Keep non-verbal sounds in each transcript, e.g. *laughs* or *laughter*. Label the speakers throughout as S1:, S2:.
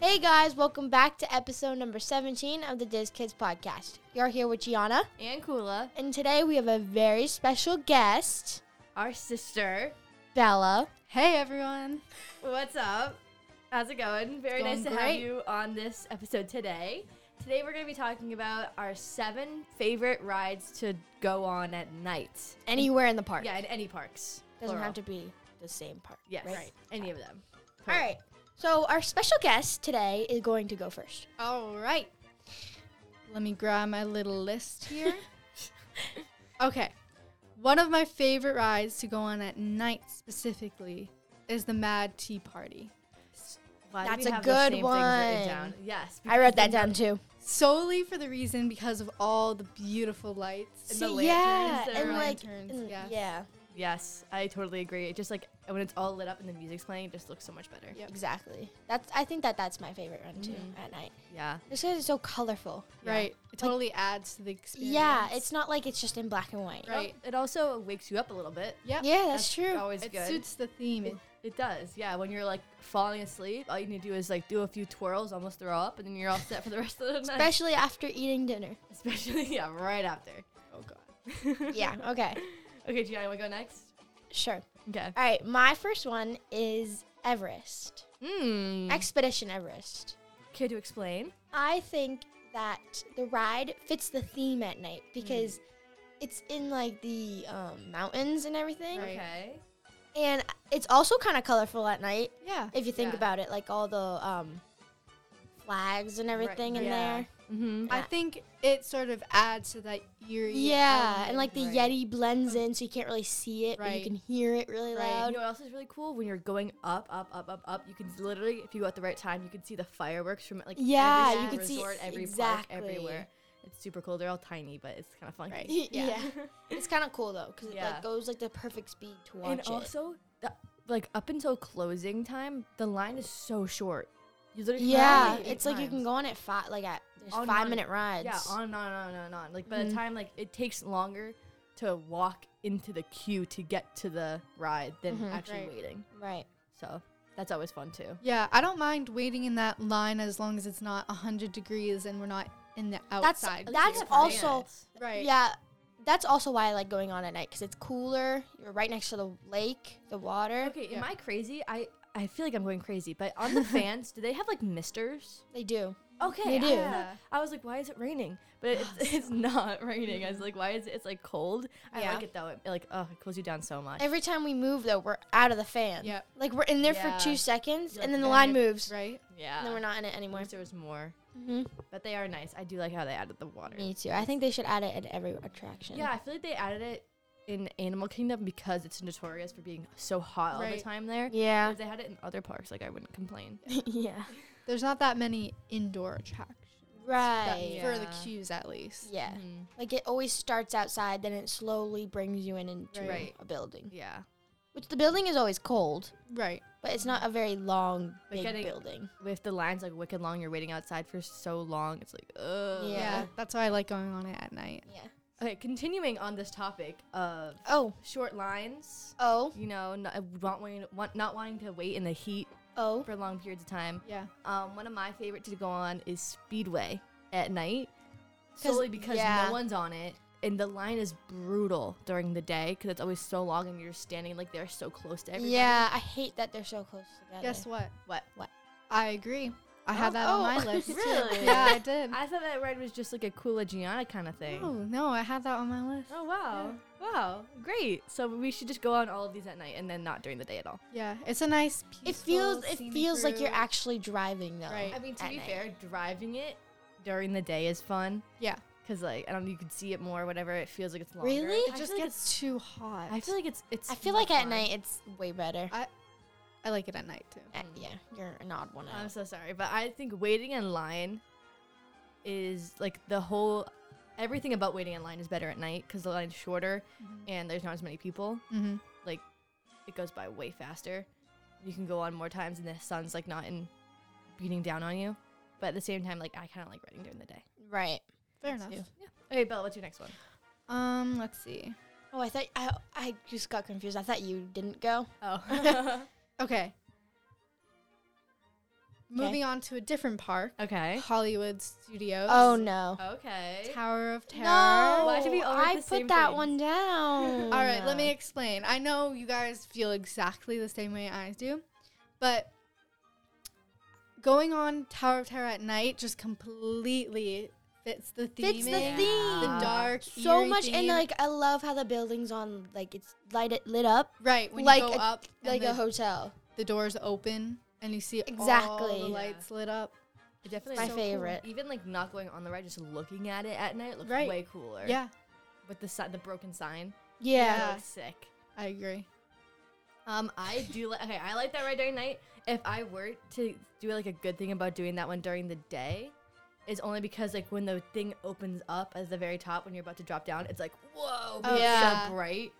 S1: Hey guys, welcome back to episode number 17 of the Diz Kids podcast. You're here with Gianna,
S2: and Kula,
S1: and today we have a very special guest,
S2: our sister.
S1: Bella.
S3: Hey everyone.
S2: What's up? How's it going? Very
S3: Going
S2: nice to have
S3: great.
S2: you on this episode today. Today we're going to be talking about our seven favorite rides to go on at night.
S1: Anywhere in the park.
S2: Yeah, in any parks.
S1: Doesn't
S2: plural.
S1: have to be the same park.
S2: Yes,
S1: Right.
S2: any of them.
S1: All right. So our special guest today is going to go first.
S2: All right.
S3: Let me grab my little list here. okay. One of my favorite rides to go on at night specifically is the Mad Tea Party.
S2: Why do
S1: That's
S2: we
S1: a
S2: have the
S1: good
S2: same things written
S1: one.
S2: down? Yes.
S1: *laughs* I wrote that
S2: because
S1: down too.
S3: Solely for the reason because of all the beautiful lights.
S2: And the
S1: See, yeah,
S2: lanterns that
S1: and
S2: are on
S1: like,
S3: lanterns,
S1: and-
S3: yes.
S1: yeah,
S2: Yes, I totally agree. It just like when it's all lit up and the music's playing, it just looks so much better.
S3: Yeah.
S1: exactly. That's I think that that's my favorite one too
S2: Mhm.
S1: at night.
S2: Yeah.
S1: Just because it's so colorful.
S2: Yeah.
S3: Right. It totally adds to the experience.
S1: Yeah, it's not like it's just in black and white.
S3: Right.
S2: It also wakes you up a little bit.
S3: Yep.
S1: Yeah, that's, true.
S2: Always
S3: It
S2: good.
S3: suits the theme.
S2: It, it does, yeah. When you're like falling asleep, all you need to do is like do a few twirls, almost throw up, and then you're all set for the rest of the night.
S1: Especially after eating dinner.
S2: *laughs* Especially, yeah, right after. Oh *laughs* god.
S1: Yeah, okay.
S2: Okay, Gianna, want to go next?
S1: Sure.
S2: Okay.
S1: All right, my first one is Everest.
S2: Hmm.
S1: Expedition Everest.
S2: Care to explain?
S1: I think that the ride fits the theme at night because it's in like the um, mountains and everything.
S3: Right.
S2: Okay.
S1: And it's also kind of colorful at night
S3: yeah.
S1: if you think
S2: Yeah.
S1: about it, like all the um, flags and everything in
S2: yeah.
S1: there.
S2: Mm-hmm.
S3: I think it sort of adds to that eerie.
S1: Yeah,
S3: element.
S1: and like the
S2: Right.
S1: Yeti blends in so you can't really see it, but you
S3: Right.
S1: can hear it really
S3: Right.
S1: loud.
S2: You know what else is really cool? When you're going up, up, up, up, up, you can literally, if you go at the right time, you can see the fireworks from like
S1: Yeah,
S2: every
S1: you
S2: single
S1: can see-
S2: resort, every
S1: exactly.
S2: park, everywhere. It's super cool. They're all tiny, but it's kind of fun.
S1: *laughs*
S3: Right.
S1: yeah. It's kind of cool though, because it
S2: Yeah.
S1: like goes like the perfect speed to watch
S2: and
S1: it.
S2: also, the, like up until closing time, the line is so short. You literally can
S1: yeah,
S2: only eight
S1: it's like you can
S2: times.
S1: go on it five, like at there's
S2: On
S1: five
S2: one-
S1: minute rides.
S2: Yeah, on and on and on and on. Like by the
S3: Mhm.
S2: time like it takes longer to walk into the queue to get to the ride than
S1: Mhm.
S2: actually
S3: Right.
S2: waiting.
S1: right.
S2: So that's always fun too.
S3: Yeah, I don't mind waiting in that line as long as it's not 100 degrees and we're not in the
S1: That's-
S3: outside.
S1: that- That's
S2: You get
S1: also-
S2: fans.
S3: right.
S1: Yeah, that's also why I like going on at night because it's cooler. You're right next to the lake, the water.
S2: Okay,
S3: Yeah.
S2: am I crazy? I I feel like I'm going crazy. But on *laughs* the fans, do they have like misters?
S1: They do.
S2: Okay,
S1: They
S2: I,
S1: do.
S2: don't know. I was like, why is it raining? But it's, *laughs* it's not raining. I was like, why is it? It's like cold. I
S1: Yeah.
S2: like it though. It, like, oh, it cools you down so much.
S1: Every time we move though, we're out of the fan.
S3: Yep.
S1: Like we're in there
S2: Yeah.
S1: for two seconds,
S2: You're
S1: and then
S2: like,
S1: the
S2: "Dang
S1: line
S2: it."
S1: moves,
S3: Right?
S2: yeah.
S1: and then we're not in it
S2: I
S1: anymore.
S2: wish there was more,
S1: hmm
S2: but they are nice. I do like how they added the water.
S1: Me too. I think they should add it at every attraction.
S2: Yeah, I feel like they added it in Animal Kingdom because it's notorious for being so hot all the
S3: Right.
S2: time there.
S1: Yeah.
S2: If they had it in other parks, like I wouldn't complain.
S1: *laughs* yeah.
S3: There's not that many indoor attractions. that-
S1: Right.
S3: For the
S2: Yeah.
S3: queues, at least.
S1: Yeah.
S2: Mhm.
S1: Like it always starts outside, then it slowly brings you in into
S2: Right.
S1: a building.
S2: Yeah.
S1: Which the building is always cold,
S3: Right.
S1: but it's not a very long
S2: But
S1: big
S2: getting-
S1: building.
S2: If the line's like wicked long, you're waiting outside for so long. It's like, ugh.
S1: Yeah.
S3: Yeah. That's why I like going on it at night.
S1: Yeah.
S2: Okay, continuing on this topic of
S1: Oh,
S2: short lines.
S1: oh,
S2: You know, not, not wanting want, not wanting to wait in the heat
S1: oh.
S2: for long periods of time.
S3: Yeah.
S2: Um, one of my favorite to go on is Speedway at night,
S1: 'Cause-
S2: solely because
S1: yeah.
S2: no one's on it, and the line is brutal during the day because it's always so long, and you're standing like they're so close to everybody.
S1: Yeah, I hate that they're so close together.
S3: Guess what?
S2: What?
S3: I agree. I had that
S1: Oh.
S2: *laughs*
S3: on my list.
S2: Really?
S3: yeah, I did.
S2: I thought that ride was just like a Kula Gianna kind of thing.
S3: Oh, no, I had that on my list.
S2: Oh, wow. Wow. Great. So we should just go on all of these at night and then not during the day at all.
S3: Yeah. It's a nice
S1: It
S3: peaceful,
S1: feels it
S3: scenic
S1: feels like you're
S3: route.
S1: actually driving though.
S3: Right.
S2: I mean, to
S1: At
S2: be
S1: night.
S2: fair, driving it during the day is fun
S3: Yeah.
S2: because like I don't know, you can see it more, whatever. It feels like it's longer.
S1: Really?
S2: I
S3: It just
S2: feel like
S3: gets too hot.
S2: it's- I feel like it's it's.
S1: I feel
S2: more
S1: like at
S2: fun.
S1: night it's way better.
S3: I like it at night too.
S1: Uh, yeah, you're an odd one
S2: I'm
S1: out.
S2: so sorry, but I think waiting in line is like the whole everything about waiting in line is better at night because the line's shorter and there's not as many people.
S3: Mm-hmm.
S2: It goes by way faster. You can go on more times, and the sun's like not in beating down on you. But at the same time, like I kind of like riding during the day.
S1: Right.
S3: Fair enough.
S2: Yeah. Okay, Bella, what's your next one?
S3: Um, let's see.
S1: Oh, I thought I I just got confused. I thought you didn't go.
S2: Oh,
S3: Okay. Moving on to a different park,
S2: *laughs* Okay.
S3: Hollywood Studios.
S1: Oh no.
S2: Okay.
S3: Tower of Terror.
S1: No.
S2: Why do we all like
S1: I
S2: the
S1: put
S2: same
S1: that
S2: things?
S1: one down.
S3: All right, let me explain. I know you guys feel exactly the same way I do, but going on Tower of Terror at night just completely fits the theme.
S1: Fits the
S3: in,
S1: theme.
S3: the dark,
S1: so
S3: eerie
S1: much and
S3: theme.
S1: like I love how the buildings on like it's light lit up
S3: right when
S1: like
S3: you go
S1: a-
S3: up, and
S1: like
S3: the,
S1: a hotel.
S3: the doors open and you see all
S1: Exactly.
S3: the
S1: Yeah.
S3: lights lit up.
S2: It definitely
S1: my
S2: is cool.
S1: favorite.
S2: Even like not going on the ride, just looking at it at night looks
S3: Right.
S2: way cooler.
S3: Yeah,
S2: With the si- the broken sign.
S1: Yeah.
S2: That
S3: Yeah.
S2: looks sick.
S3: I agree.
S2: Um, I do like. Okay, I like that ride during night. If I were to do like a good thing about doing that one during the day, is only because like when the thing opens up as the very top when you're about to drop down, it's like whoa, but it's
S3: yeah.
S2: so bright.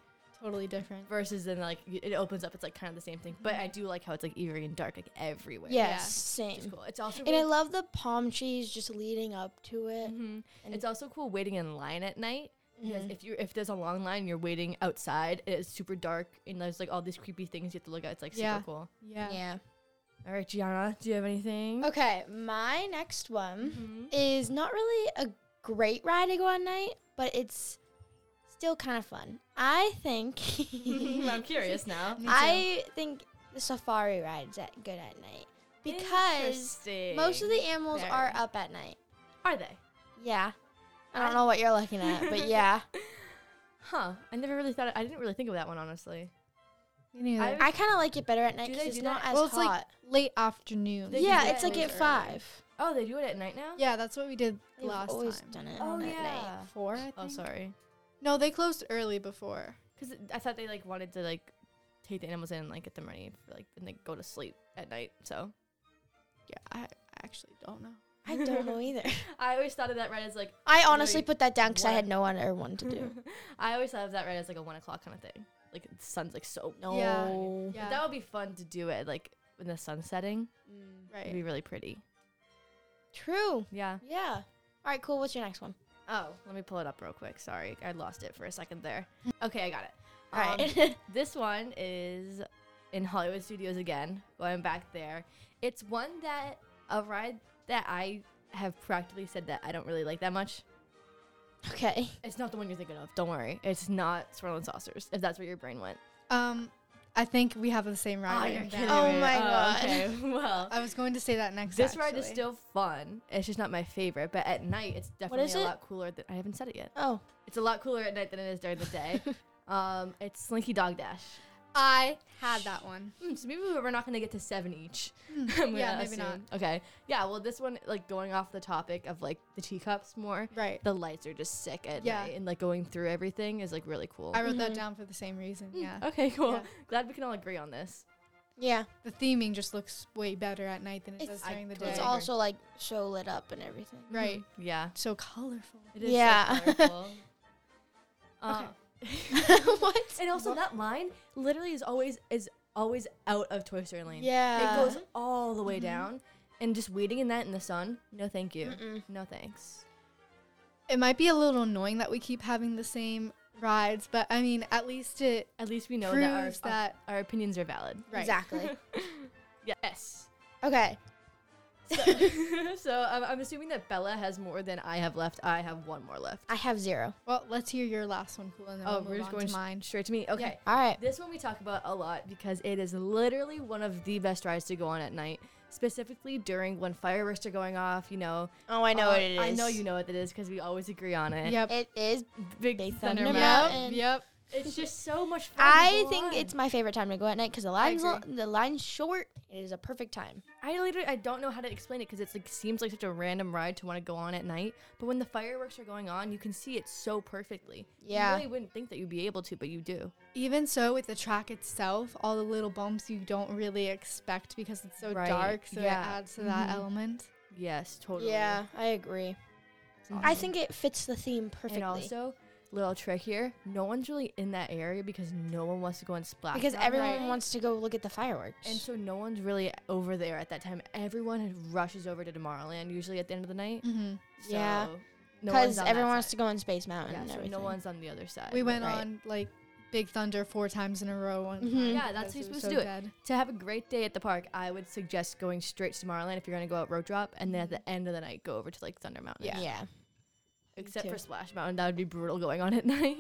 S3: Totally different.
S2: Versus then like y- it opens up, it's like kind of the same thing. But I do like how it's like eerie and dark like everywhere.
S1: Yes,
S3: Yeah.
S2: which
S1: same.
S2: is cool. It's also
S1: And
S2: really
S1: I love the palm trees just leading up to it.
S2: Mhm.
S1: And-
S2: It's also cool waiting in line at night
S3: Mm-hmm.
S2: because
S1: Mhm.
S2: if you if there's a long line, you're waiting outside. and It's super dark and there's like all these creepy things you have to look at. It's like super
S3: Yeah.
S2: cool.
S3: Yeah.
S2: All right, Gianna, do you have anything?
S1: Okay, my next one
S2: Mhm.
S1: is not really a great ride to go on night, but it's still kind of fun. I
S3: *laughs*
S1: think
S2: *laughs*
S1: *laughs*
S2: I'm curious now.
S1: I think the safari ride's at good at night because most of the animals are
S2: Very.
S1: up at night.
S2: are they?
S1: Yeah. I don't
S2: I-
S1: know what you're looking at,
S2: *laughs*
S1: but yeah.
S2: Huh? I never really thought. I didn't really think of that one honestly.
S3: I,
S2: I-
S1: I kind of like it better at night
S2: Do
S1: because
S2: they
S1: it's
S2: do
S1: not
S2: that?
S1: as
S3: well, it's like
S1: hot.
S3: late afternoon.
S2: They do
S1: yeah,
S2: that
S1: it's like at
S2: later.
S1: five.
S2: Oh, they do it at night now.
S3: Yeah, that's what we did
S1: They've
S3: last
S1: always
S3: time.
S1: done it
S2: Oh
S1: on at night.
S2: yeah.
S3: Four. I think.
S2: Oh sorry,
S3: No, they closed early before.
S2: because I thought they like wanted to like take the animals in and like get them ready for like and they go to sleep at night. So
S3: Yeah, I, I actually don't know.
S1: I don't know either.
S2: *laughs* I always thought of that right as like
S1: I honestly
S2: Really?
S1: put that down because I
S2: What?
S1: had no other one to do.
S2: *laughs* I always thought of that right as like a one o'clock kind of thing. Like the sun's like so
S1: No.
S3: Yeah.
S2: But that would be fun to do it like when the sun's setting.
S1: Mm.
S2: It'd be
S3: right.
S2: really pretty.
S1: True.
S2: Yeah.
S1: Yeah. All right, cool. What's your next one?
S2: Oh, let me pull it up real quick. Sorry, I lost it for a second there.
S1: *laughs*
S2: Okay, I got it.
S1: All right. *laughs*
S2: Um, this one is in Hollywood Studios again. Going back there, it's one that a ride that I have practically said that I don't really like that much.
S1: okay.
S2: It's not the one you're thinking of. Don't worry. It's not Swirl and Saucers. If that's where your brain went.
S3: Um, I think we have the same ride.
S2: you're
S3: written
S2: kidding
S3: down.
S1: Oh
S2: me.
S1: my God.
S2: Okay.
S1: *laughs*
S2: Well,
S3: I was going to say that next.
S2: this ride is
S3: actually.
S2: still fun. It's just not my favorite. But at night, it's definitely
S1: is
S2: a
S1: it?
S2: lot cooler. Than, I haven't said it yet.
S1: Oh.
S2: It's a lot cooler at night than it is during the *laughs* day. um, it's Slinky Dog Dash.
S3: I had that one.
S2: Hmm, so maybe we're not gonna get to seven each.
S3: Hmm,
S2: *laughs* I'm
S3: yeah,
S2: gonna
S3: maybe not.
S2: Okay. Yeah. Well, this one, like going off the topic of like the teacups more.
S3: Right.
S2: The lights are just sick at
S3: Yeah.
S2: night, and like going through everything is like really cool.
S3: I wrote that
S1: Mhm.
S3: down for the same reason.
S2: Hmm,
S3: Yeah.
S2: Okay. Cool.
S3: Yeah.
S2: Glad we can all agree on this.
S1: Yeah.
S3: The theming just looks way better at night than it
S1: It's-
S3: does
S2: I
S3: during the
S2: totally
S3: day.
S1: It's
S2: agree.
S1: also like so lit up and everything.
S3: *laughs* right.
S2: Hmm. Yeah.
S3: So colorful.
S2: It is yeah.
S1: Yeah.
S3: *laughs*
S2: uh,
S1: *laughs* what?
S2: and also that line literally is always is always out of Toy Story Lane.
S1: Yeah.
S2: It goes all the way
S3: Mhm.
S2: down, and just waiting in that in the sun. No, thank you.
S1: Mm-mm.
S2: No thanks.
S3: It might be a little annoying that we keep having the same rides, but I mean, at least it
S2: At least we know that our,
S3: proves that.
S2: our our opinions are valid.
S3: right.
S1: Exactly.
S2: *laughs* Yes. *laughs*
S1: okay.
S2: so *laughs* um, I'm assuming that Bella has more than I have left. I have one more left.
S1: *laughs* I have zero.
S3: Well, let's hear your last one, cool, and then
S2: oh,
S3: we'll
S2: we're
S3: move
S2: just
S3: on
S2: going
S3: to
S2: s-
S3: mine.
S2: straight to me. Okay.
S1: All right.
S2: This one we talk about a lot because it is literally one of the best rides to go on at night, specifically during when fireworks are going off. You know,
S1: Oh, I know
S2: Uh,
S1: what it is.
S2: I know you know what it is because we always agree on it.
S3: Yep.
S1: It is.
S2: Big
S1: Big
S2: Thunder,
S1: Thunder
S2: Mountain.
S1: Mountain.
S3: Yep.
S2: It's just so much fun. to
S1: I
S2: go
S1: think
S2: on.
S1: it's my favorite time to go at night because the line's lo-
S3: agree.
S1: the line's short. It is a perfect time.
S2: I literally I don't know how to explain it because it's like seems like such a random ride to want to go on at night. But when the fireworks are going on, you can see it so perfectly.
S1: Yeah.
S2: You really wouldn't think that you'd be able to, but you do.
S3: Even so, with the track itself, all the little bumps you don't really expect because it's so
S2: Right,
S3: dark, so
S2: yeah.
S3: it adds to that
S2: Mhm.
S3: element.
S2: Yes, totally.
S1: I agree.
S2: Mhm.
S1: I think it fits the theme perfectly.
S2: And also, little trick here: no one's really in that area because no one wants to go and splash.
S1: because
S2: that
S1: everyone
S2: night.
S1: wants to go look at the fireworks.
S2: And so no one's really over there at that time. Everyone rushes over to Tomorrowland usually at the end of the night.
S3: hmm
S2: So
S1: Yeah.
S2: no one's
S1: because
S2: on that
S1: everyone wants
S2: side.
S1: to go on Space Mountain
S2: Yeah,
S1: and
S2: so
S1: everything.
S2: no one's on the other side.
S3: We went
S1: Right.
S3: on like Big Thunder four times in a row. One
S1: Mhm.
S2: Yeah, that's how
S3: because
S2: you're
S3: it was
S2: supposed to do it. To have a great day at the park, I would suggest going straight to Tomorrowland if you're gonna go out road drop, and then at the end of the night, go over to like Thunder Mountain.
S1: Yeah.
S2: Except
S3: too.
S2: for Splash Mountain, that would be brutal going on at *laughs* night.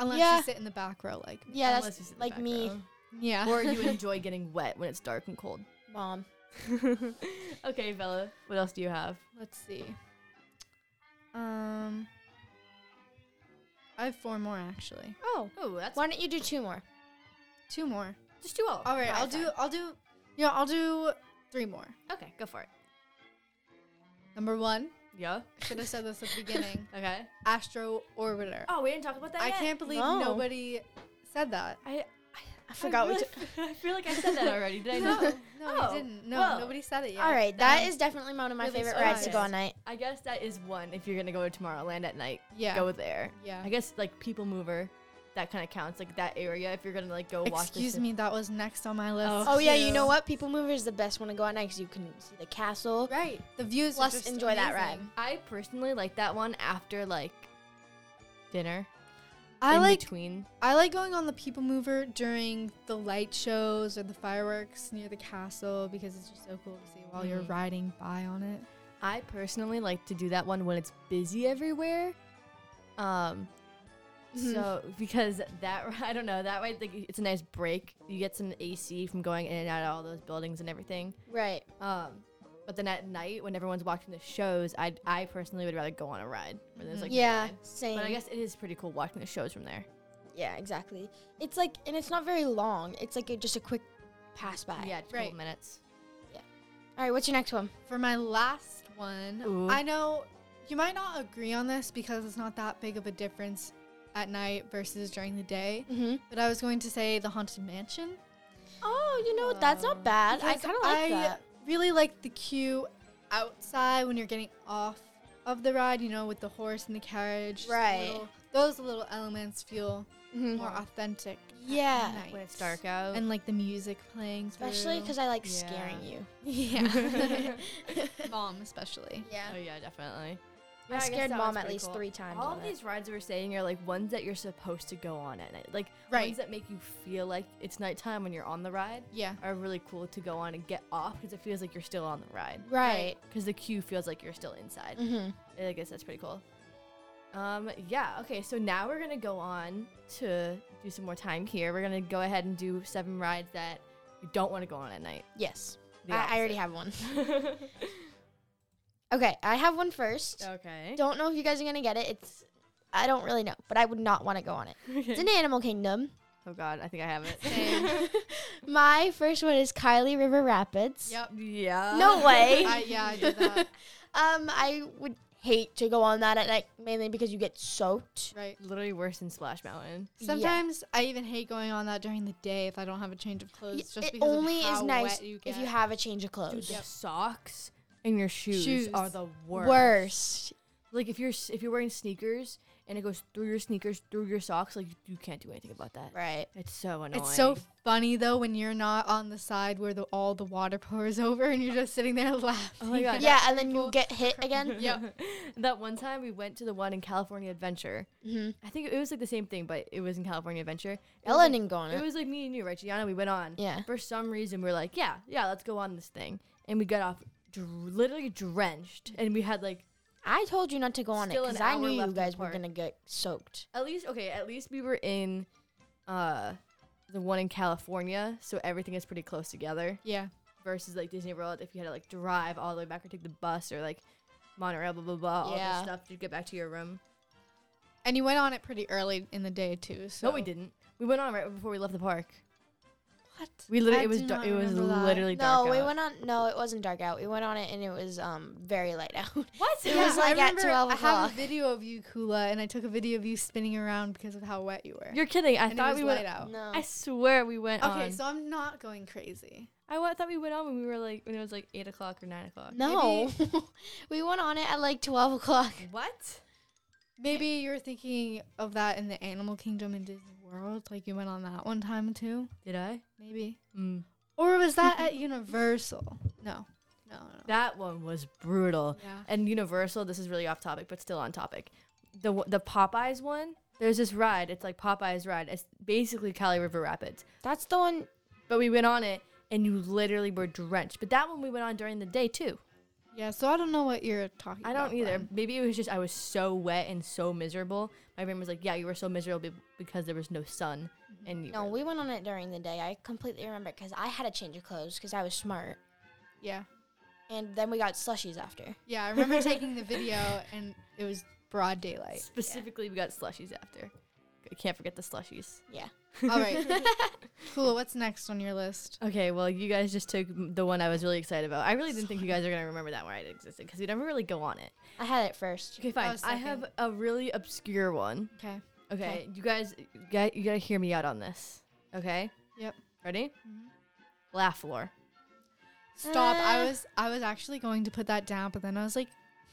S3: Unless
S1: Yeah.
S3: you sit in the back row like me.
S1: Yeah,
S2: Unless you
S1: that's
S2: sit in the
S1: like
S2: back
S1: me,
S2: row.
S3: Yeah.
S2: or *laughs* you enjoy getting wet when it's dark and cold.
S1: mom.
S2: *laughs* okay, Bella, what else do you have?
S3: Let's see. Um I have four more actually.
S1: Oh,
S2: Oh, that's
S1: why don't you do two more?
S3: Two more.
S2: just two all.
S3: All right,
S1: Five
S3: I'll do I'll do you know, I'll do three more.
S2: Okay, go for it.
S3: Number 1,
S2: Yeah.
S3: should have said this at the
S2: *laughs*
S3: beginning.
S2: Okay.
S3: Astro Orbiter.
S2: Oh, we didn't talk about that.
S3: I
S2: yet.
S3: can't believe
S1: No.
S3: nobody said that.
S2: I
S1: I forgot
S2: I
S1: what.
S2: really *laughs* I feel like I said that already. *laughs* Did I?
S3: no,
S2: not?
S3: no,
S2: Oh,
S3: you didn't. No,
S2: well.
S3: nobody said it yet.
S1: All right,
S2: that
S1: that is definitely one of my
S2: really
S1: favorite rides to go
S2: surprised.
S1: on night.
S2: I guess that is one. If you're gonna go to Tomorrowland at night,
S3: Yeah.
S2: go there.
S3: yeah.
S2: I guess like People Mover, that kind of counts. Like that area. If you're gonna like go watch.
S3: Excuse me, that was next on my list.
S1: Oh yeah, you know
S3: too.
S1: what? People Mover is the best one to go on night because you can see the castle.
S3: Right. The views.
S1: Plus,
S3: are just
S1: enjoy that
S3: amazing.
S1: ride.
S2: I personally like that one after like dinner.
S3: I
S2: in
S3: like
S2: between.
S3: I like going on the People Mover during the light shows or the fireworks near the castle because it's just so cool to see while you're
S2: Mhm.
S3: riding by on it.
S2: I personally like to do that one when it's busy everywhere. Um,
S3: Mm-hmm.
S1: Mhm.
S2: so because that *laughs* r- I don't know that way like, it's a nice break. You get some AC from going in and out of all those buildings and everything.
S1: Right.
S2: Um, but then at night when everyone's watching the shows, I I personally would rather go on a ride where there's like no
S1: yeah.
S2: ride.
S1: Same.
S2: But I guess it is pretty cool watching the shows from there.
S1: Yeah, exactly. It's like, and it's not very long. It's like a, just a quick pass by.
S2: Yeah, twelve
S3: Right.
S2: minutes.
S1: All right, what's your next one?
S3: For my last one,
S2: Ooh.
S3: I know you might not agree on this because it's not that big of a difference at night versus during the day,
S1: Mm-hmm.
S3: but I was going to say the Haunted Mansion.
S1: Oh, you know what? That's not bad. I
S3: Because
S1: kind of like
S3: I
S1: that.
S3: Really like the queue outside when you're getting off of the ride, you know, with the horse and the carriage. the
S1: Right.
S3: little- those little elements feel
S1: Mm-hmm.
S3: more authentic. at
S1: Yeah.
S3: night.
S2: When it's dark out.
S3: And like the music playing.
S1: Especially because I like scaring
S2: Yeah.
S1: you.
S3: *laughs*
S1: *laughs*
S3: Yeah. Mom, especially.
S1: Yeah.
S2: oh yeah, definitely.
S1: I scared mom at least three times.
S2: All
S1: on
S2: of
S1: it.
S2: these rides we're saying are like ones that you're supposed to go on at night. Like
S3: Right.
S2: ones that make you feel like it's nighttime when you're on the ride
S3: Yeah.
S2: are really cool to go on and get off because it feels like you're still on the ride.
S1: Right.
S2: Because the queue feels like you're still inside.
S1: Mm-hmm.
S2: I guess that's pretty cool. Um, yeah, okay, so now we're gonna go on to do some more time here. We're gonna go ahead and do seven rides that you don't want to go on at night.
S1: Yes.
S2: The
S1: I, I already have one. Okay, I have one first.
S2: *laughs* okay.
S1: Don't know if you guys are going to get it. It's, I don't really know, but I would not want to go on it. It's *laughs* in Animal Kingdom.
S2: Oh god, I think I have it.
S1: *laughs* My first one is Kylie River Rapids.
S3: *laughs* Yep.
S1: *laughs*
S2: yeah.
S1: No *laughs* way.
S3: I, yeah, I did that.
S1: Um, I would hate to go on that at night, mainly because you get soaked.
S3: Right.
S2: Literally worse than Splash Mountain.
S1: Yeah.
S3: Sometimes I even hate going on that during the day if I don't have a change of clothes.
S1: Y-
S3: just
S1: it
S3: because of
S1: only is
S3: how
S1: nice
S3: wet you
S1: if you
S3: get.
S1: have a change of
S2: Dude,
S1: clothes.
S2: the socks and your shoes,
S3: Shoes.
S2: are the worst.
S1: Worst.
S2: Like if you're s- if you're wearing sneakers and it goes through your sneakers through your socks, like you can't do anything about that.
S1: Right.
S2: It's so annoying. *laughs*
S3: It's so funny though when you're not on the side where the, all the water pours *laughs* over and you're just sitting there *laughs* laughing.
S2: Oh my God.
S1: Yeah, and then you get hit
S2: *laughs*
S1: again.
S3: Yep.
S2: that one time we went to the one in California Adventure.
S1: hmm
S2: I think it was like the same thing, but it was in California Adventure. It was,
S1: Ellen
S2: like-
S1: didn't go on
S2: It
S1: it.
S2: was like me and you, right, Gianna? We went on.
S1: Yeah.
S2: For some reason, we are like, yeah, yeah, let's go on this thing, and we got off dr- literally drenched, and we had like
S1: I told you not to go on it
S2: Still an
S1: because I
S2: hour
S1: knew
S2: left
S1: you
S2: in the
S1: guys were
S2: park.
S1: gonna get soaked.
S2: At least okay, at least we were in uh the one in California, so everything is pretty close together
S3: Yeah.
S2: versus like Disney World if you had to like drive all the way back or take the bus or like monorail, blah blah blah, all
S1: Yeah.
S2: this stuff to get back to your room.
S3: And you went on it pretty early in the day too. So
S2: No, we didn't. We went on right before we left the park.
S3: What?
S2: We literally
S3: I
S2: it was
S3: do
S2: dar-
S3: not
S2: it was
S3: remember that.
S2: literally dark.
S1: no, we
S2: out.
S1: went on. No, it wasn't dark out. We went on it and it was um very light out.
S2: What?
S1: It was,
S3: I
S1: like, at
S3: remember
S1: 12
S3: I have
S1: o'clock.
S3: a video of you, Kula, and I took a video of you spinning around because of how wet you were.
S2: You're kidding. I
S3: and it
S2: thought
S3: was
S2: we
S3: light
S2: went
S1: *laughs*
S3: out.
S1: no.
S2: I swear we went
S3: Okay,
S2: on.
S3: so I'm not going crazy.
S2: I wa- thought we went on when we were like when it was like eight o'clock or nine o'clock.
S1: no. *laughs* we went on it at like twelve o'clock.
S2: What?
S3: Maybe you're thinking of that in the Animal Kingdom in Disney World, like you went on that one time too.
S2: Did I?
S3: Maybe.
S2: Mm.
S3: Or was that at *laughs* Universal? No. No, no.
S2: That one was brutal.
S3: Yeah.
S2: And Universal, this is really off topic, but still on topic. The w- the Popeyes one There's this ride. It's like Popeye's ride. It's basically Cali River Rapids.
S1: That's the one.
S2: But we went on it and you literally were drenched. But that one we went on during the day too.
S3: Yeah, so I don't know what you're talking
S2: I
S3: about.
S2: don't either.
S3: then.
S2: Maybe it was just I was so wet and so miserable. My brain was like, "Yeah, you were so miserable be- because there was no sun." And you
S1: No,
S2: were-
S1: we went on it during the day. I completely remember because I had a change of clothes because I was smart.
S3: Yeah.
S1: And then we got slushies after.
S3: Yeah, I remember taking the video and it was broad daylight.
S2: specifically we got slushies after. I can't forget the slushies. *laughs*
S1: Yeah.
S3: All right. cool. What's next on your list?
S2: Okay, well, you guys just took m- the one I was really excited about. I really didn't think you guys are gonna remember that one I existed because we never really go on it.
S1: I had it first.
S2: Okay, fine.
S3: was
S2: I have a really obscure one.
S3: Oh, Okay.
S2: Okay,
S3: Okay.
S2: you guys, you gotta, you gotta hear me out on this. Okay.
S3: Yep.
S2: Ready? Laugh floor.
S3: Stop. I
S1: Uh.
S3: was I was actually going to put that down, but then I was like,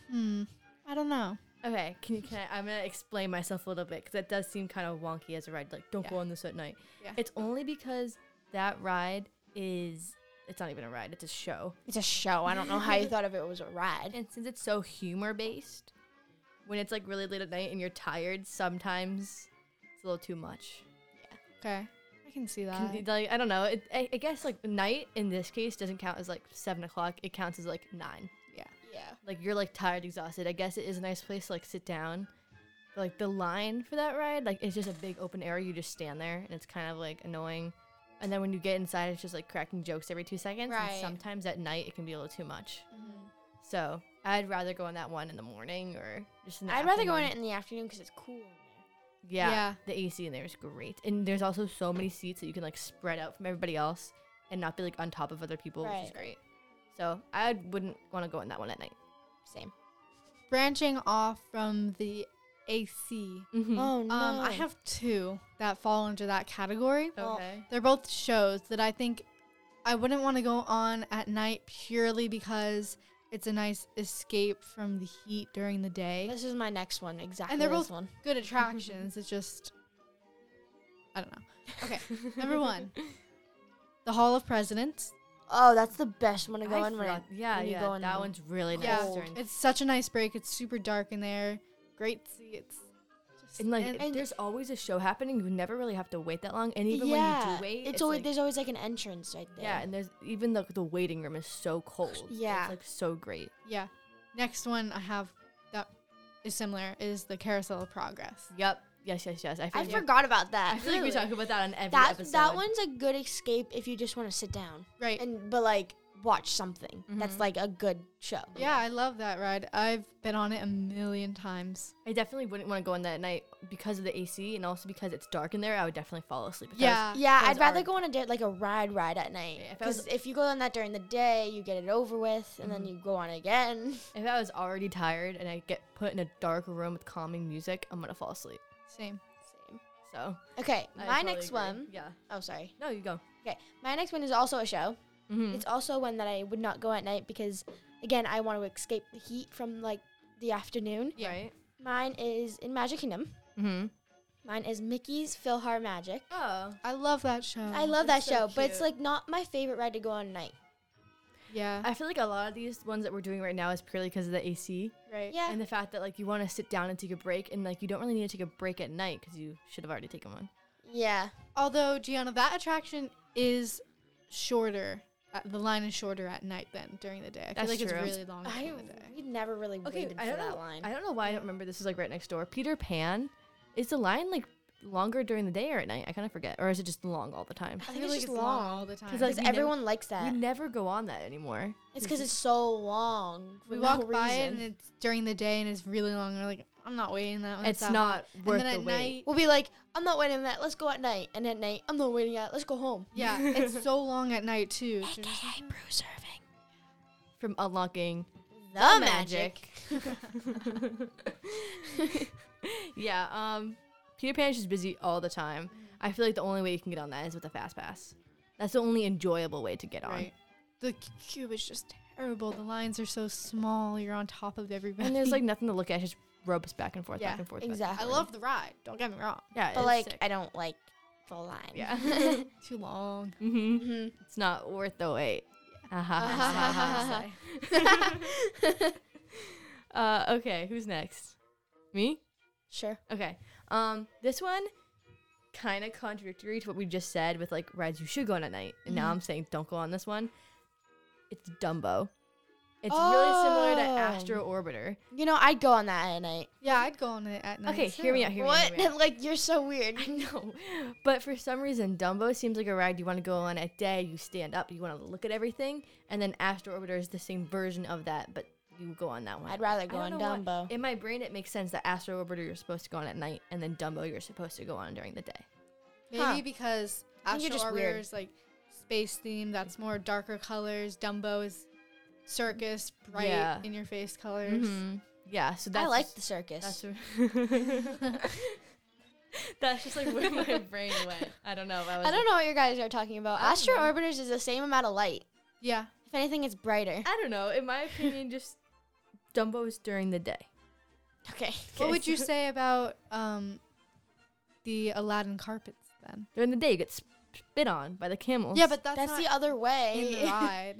S3: hmm, I don't know.
S2: Okay, can you? Can I, I'm gonna explain myself a little bit because that does seem kind of wonky as a ride. Like, don't go
S3: Yeah.
S2: on this at night.
S3: Yeah.
S2: It's only because that ride is. It's not even a ride. It's a show.
S1: It's a show. I don't know how you thought of it was a ride.
S2: And since it's so humor based, when it's like really late at night and you're tired, sometimes it's a little too much.
S3: Okay. I can see that.
S2: Can- like I don't know. It, I, I guess like night in this case doesn't count as like seven o'clock. It counts as like nine.
S1: Yeah.
S2: Like you're like tired, exhausted. I guess it is a nice place to like sit down. But, like the line for that ride, like it's just a big open area. You just stand there, and it's kind of like annoying. And then when you get inside, it's just like cracking jokes every two seconds.
S1: Right. Mm-hmm.
S2: And sometimes at night it can be a little too much.
S3: Mhm.
S2: So I'd rather go on that one in the morning or just. In the
S1: I'd rather go
S2: afternoon.
S1: in it in the afternoon because it's cool in there.
S2: Yeah,
S3: Yeah.
S2: The AC in there is great. And there's also so many seats that you can like spread out from everybody else and not be like on top of other people, which is
S1: Right.
S2: great. So I wouldn't want to go in that one at night.
S1: Same.
S3: Branching off from the AC.
S2: Mm-hmm.
S1: Oh no.
S3: Um, I have two that fall under that category.
S2: Okay.
S3: They're both shows that I think I wouldn't want to go on at night purely because it's a nice escape from the heat during the day.
S1: This is my next one. Exactly.
S3: they're
S1: this
S3: both-
S1: one.
S2: *laughs*
S3: Good attractions. it's just I don't know. Okay,
S1: *laughs*
S3: number
S2: *laughs*
S3: one, the Hall of Presidents.
S1: Oh, that's the best one to go
S2: I
S1: in. when I-
S2: forgot- yeah,
S1: when you
S2: yeah.
S1: go in
S2: that
S1: the
S2: one's really nice.
S3: Yeah,
S2: during-
S3: it's such a nice break. It's super dark in there. Great seats. Just,
S2: and like,
S3: and-
S1: and-
S2: there's always a show happening. You never really have to wait that long. And even when you do wait,
S1: it's, always
S2: like,
S1: there's always like an entrance right there.
S2: yeah. And there's even the the waiting room is so cold.
S1: Yeah.
S2: it's like so great.
S3: yeah. Next one I have that is similar is the Carousel of Progress.
S2: Yep. Yes. Yes. Yes. I,
S1: I
S2: feel-
S1: forgot about that.
S2: I feel like we talk about that on every
S1: that
S2: episode.
S1: that one's a good escape if you just want to sit down
S3: Right.
S1: and but like watch something
S2: Mhm.
S1: that's like a good show.
S3: Yeah, I love that ride. I've been on it a million times.
S2: I definitely wouldn't want to go in that at night because of the AC and also because it's dark in there. I would definitely fall asleep. If I was-
S3: Yeah.
S1: Yeah,
S2: Those
S1: I'd rather
S2: are-
S1: go on a day, like a ride ride at night.
S2: Yeah, if I
S1: Because
S2: was- Mm-hmm.
S1: if, you go on that during the day, you get it over with, and then you go on again. *laughs*
S2: if I was already tired and I get put in a dark room with calming music, I'm gonna fall asleep.
S3: Same.
S1: Same.
S2: So
S1: Okay,
S2: I
S1: my
S2: totally
S1: next
S2: agree.
S1: one.
S2: Yeah.
S1: Oh, sorry.
S2: No, you go.
S1: Okay, my next one is also a show.
S2: Mhm.
S1: It's also one that I would not go at night because, again, I want to escape the heat from like the afternoon.
S3: yeah.
S2: Right.
S1: Mine is in Magic Kingdom.
S2: Mm-hmm.
S1: Mine is Mickey's Philhar Magic.
S2: Oh.
S3: I love that show.
S1: I love that
S2: that's so
S1: show, but it's
S2: cute.
S1: like not my favorite ride to go on at night.
S3: Yeah.
S2: I feel like a lot of these ones that we're doing right now is purely because of the AC
S3: right.
S1: Yeah,
S2: and the fact that like you want to sit down and take a break and like you don't really need to take a break at night because you should have already taken one.
S1: yeah,
S3: Although Gianna, that attraction is shorter. Uh, the line is shorter at night than during the day. I
S2: That's
S3: feel like
S2: true.
S3: it's really long
S1: I
S3: during the day.
S1: we never really waited for that line.
S2: I don't know why I don't remember. This is like right next door. Peter Pan. Is the line like longer during the day or at night? I kind of forget. Or is it just long all
S1: *laughs*
S2: the time?
S1: I
S3: I
S1: think
S3: feel
S1: it's
S3: like
S1: just
S3: it's long
S1: long.
S3: all the time.
S2: 'Cause, like,
S1: because
S2: we never-
S1: everyone likes that.
S2: We never go on that anymore.
S1: It's because it's so long. for
S3: we
S1: no
S3: walk by it and
S1: reason.
S3: it's during the day and it's really long. And we're like, I'm not waiting that one.
S2: it's
S3: that
S2: not
S3: long."
S2: worth
S3: And then
S2: the
S3: at
S2: wait.
S3: night,
S1: We'll be like, I'm not waiting that. Let's go at night. And at night, I'm not waiting at. Let's go home.
S3: yeah, it's so long at
S2: *laughs*
S3: night too. So just-
S1: AKA brew serving
S2: From unlocking.
S1: the,
S2: magic. *laughs* yeah. Um, Peter Pan is just busy all the time. I feel like the only way you can get on that is with a fast pass. That's the only enjoyable way to get on.
S3: Right. The c- cube is just terrible. The lines are so small. You're on top of everybody.
S2: And there's like nothing to look at. It's Just ropes back and forth,
S3: Yeah,
S2: back and forth. back and
S1: Exactly.
S3: *laughs* I love the ride. Don't get me wrong.
S2: forth. Yeah.
S1: but
S2: it's
S1: like,
S2: sick.
S1: I don't like the line. *laughs*
S2: yeah.
S3: Too *laughs* long.
S2: hmm
S1: hmm
S2: It's not worth the wait. *laughs* uh, okay, who's next? Me?
S1: Sure.
S2: Okay. Um, this one kind of contradictory to what we just said with like rides you should go on at night, and
S1: Mm-hmm.
S2: now I'm saying don't go on this one. It's Dumbo. It's really similar to
S1: Oh.
S2: Astro Orbiter. *laughs*
S1: You know, I'd go on that at night.
S3: Yeah, I'd go on it at night.
S2: Okay, hear me out. Hear me out. hear
S1: What?
S2: me out.
S1: *laughs* like you're so weird.
S2: I know, but for some reason, Dumbo seems like a ride you want to go on at day. You stand up, you want to look at everything, and then Astro Orbiter is the same version of that, but you go on that
S1: *laughs*
S2: one.
S1: I'd rather
S2: I
S1: go on
S2: don't know why.
S1: Dumbo.
S2: In my brain, it makes sense that Astro Orbiter you're supposed to go on at night, and then Dumbo you're supposed to go on during the day.
S3: Maybe
S1: Huh.
S3: because
S1: I think
S3: Astro
S1: you're just
S3: Orbiter
S1: weird.
S3: is like space themed. That's more darker colors. Dumbo is circus, bright,
S2: Yeah.
S3: in your face colors.
S2: Yeah, so that's
S1: Mm-hmm. I like
S2: just-
S1: the circus.
S2: that's that's just like where *laughs* my brain went. I don't know. if was
S1: I don't know what you guys are talking about.
S2: I don't
S1: Astro
S2: know.
S1: orbiters is the same amount of light.
S3: Yeah.
S1: If anything, it's brighter. *laughs*
S2: I don't know. In my opinion, just Dumbo is during the day.
S1: Okay.
S3: What *laughs* would you say about um, the Aladdin carpets then?
S2: *laughs* During the day, you get sp- spit on by the camels.
S3: Yeah, but that's,
S1: That's
S3: not
S1: the other
S3: in the
S1: *laughs* way.
S3: ride.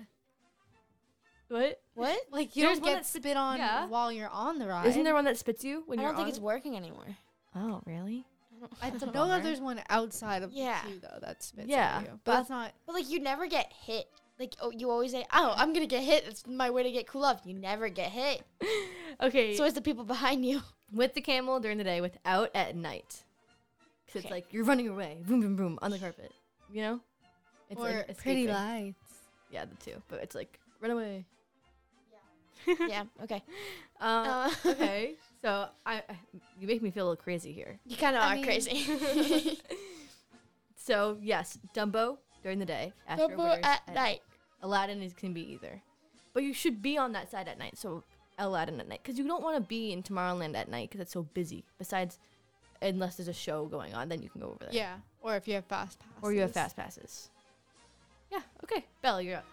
S2: what?
S1: what?
S3: *laughs* Like you
S2: There's
S3: don't
S2: one
S3: get
S2: that
S3: spit on
S2: yeah.
S3: while you're on the ride.
S2: Isn't there one that spits you when
S1: I
S2: you're
S1: don't think
S2: on
S1: it's working anymore.
S2: Oh, really?
S3: *laughs* I
S2: That's a
S3: know
S2: bummer.
S3: that there's one outside of
S1: Yeah.
S3: the queue though that spits
S2: Yeah,
S3: on you,
S2: but-
S3: but that's not.
S1: But like you never get hit. Like oh, you always say, "Oh, I'm gonna get hit. It's my way to get cool off." You never get hit.
S2: Okay.
S1: So it's the people behind *laughs* you.
S2: with the camel during the day, without at night. Because it's
S1: Okay.
S2: like you're running away, boom, boom, boom, on the carpet. You know? It's
S3: or
S2: escape
S3: pretty
S2: thing.
S3: lights.
S2: Yeah, the two. But it's like run away. *laughs*
S1: yeah. *laughs* Okay.
S2: Uh,
S1: Uh,
S2: okay. So I, I, you make me feel a little crazy here.
S1: You kind of
S3: I
S1: are
S3: mean-
S1: *laughs* crazy.
S2: So yes, Dumbo during the day. Astro
S1: Double
S2: Orbiters
S1: at night.
S2: Aladdin is can be either, but you should be on that side at night. So Aladdin at night, because you don't want to be in Tomorrowland at night because it's so busy. Besides, unless there's a show going on, then you can go over there.
S3: Yeah, or if you have fast passes.
S2: Or you have fast passes. Yeah. Okay. Bella, you're up.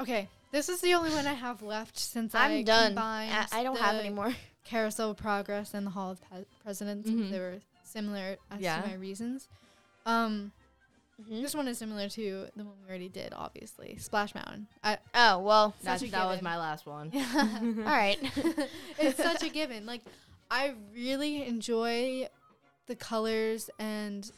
S3: Okay, this is the only one I have left since
S1: I'm
S3: I
S1: done.
S3: combined
S1: I, I don't have
S3: the
S1: any *laughs* more.
S3: Carousel of Progress and the Hall of Pe- Presidents. since
S1: Mm-hmm.
S2: Mhm.
S3: They were similar as
S2: Yeah.
S3: to my reasons. Um,
S1: Mhm.
S3: this one is similar to the one we already did, obviously. Splash Mountain. I,
S1: *laughs* Oh well.
S2: That's,
S3: Such a
S2: that was
S3: given.
S2: my last one.
S1: All right. *laughs*
S3: it's such a given. Like, I really enjoy the colors and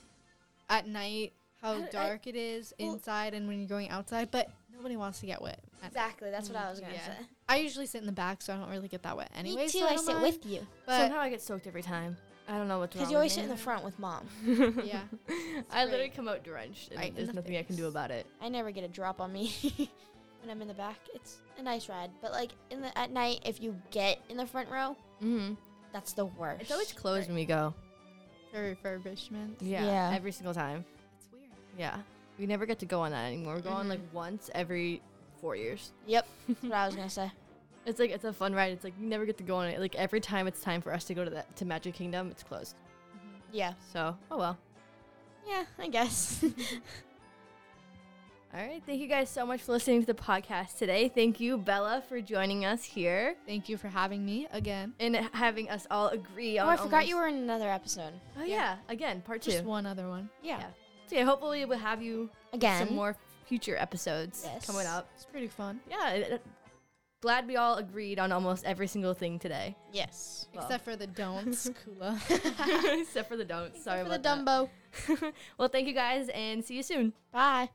S3: at night how
S2: I- I-
S3: dark it is
S1: well-
S3: inside and when you're going outside. But nobody wants to get wet. at night.
S1: exactly. That's what I was gonna
S3: Yeah.
S1: say.
S3: I usually sit in the back, so I don't really get that wet anyway.
S1: Me too.
S3: so
S1: I
S3: don't
S1: sit
S3: mind.
S1: with you
S3: But
S2: Somehow I get soaked every time. I don't know what's wrong.
S1: because you always
S2: with
S1: sit in
S2: me.
S1: the front with mom.
S2: *laughs*
S3: *laughs*
S1: *laughs*
S3: yeah,
S2: I
S3: great.
S2: literally come out drenched, and
S3: Right in
S2: there's
S3: the
S2: nothing I can do
S3: face.
S2: about it.
S1: I never get a drop on me *laughs* when I'm in the back. It's a nice ride, but like in the at night, if you get in the front row,
S2: Mm-hmm.
S1: that's the worst.
S2: It's always closed when we go.
S3: for refurbishment.
S1: Yeah.
S2: Every single time.
S3: It's weird.
S2: Yeah. We never get to go on that anymore. We go on
S3: Mhm.
S2: like once every four years.
S1: Yep. That's what I was gonna say.
S2: It's like it's a fun ride. It's like you never get to go on it. Like every time it's time for us to go to that to Magic Kingdom, it's closed.
S3: Mm-hmm.
S1: Yeah.
S2: So oh well.
S1: Yeah. I guess.
S2: All right. Thank you guys so much for listening to the podcast today. Thank you, Bella, for joining us here
S3: Thank you for having me again.
S2: and having us all agree on.
S1: oh, I forgot you
S2: almost-
S1: were in another episode.
S2: Oh yeah. Again, part two.
S3: Just one other one.
S1: Yeah.
S2: Yeah. So yeah, hopefully we'll have you
S1: Again.
S2: some more future episodes coming
S1: Yes.
S2: up.
S3: It's pretty fun,
S2: Yeah. it- it- Glad we all agreed on almost every single
S1: *laughs*
S2: thing today. *laughs*
S1: Yes.
S2: Well.
S3: except for
S1: *laughs*
S3: the don'ts, Kula.
S2: Except for the don'ts. Sorry
S1: For the
S2: about
S1: Dumbo.
S2: *laughs* that. well, thank you guys and see you soon.
S1: Bye.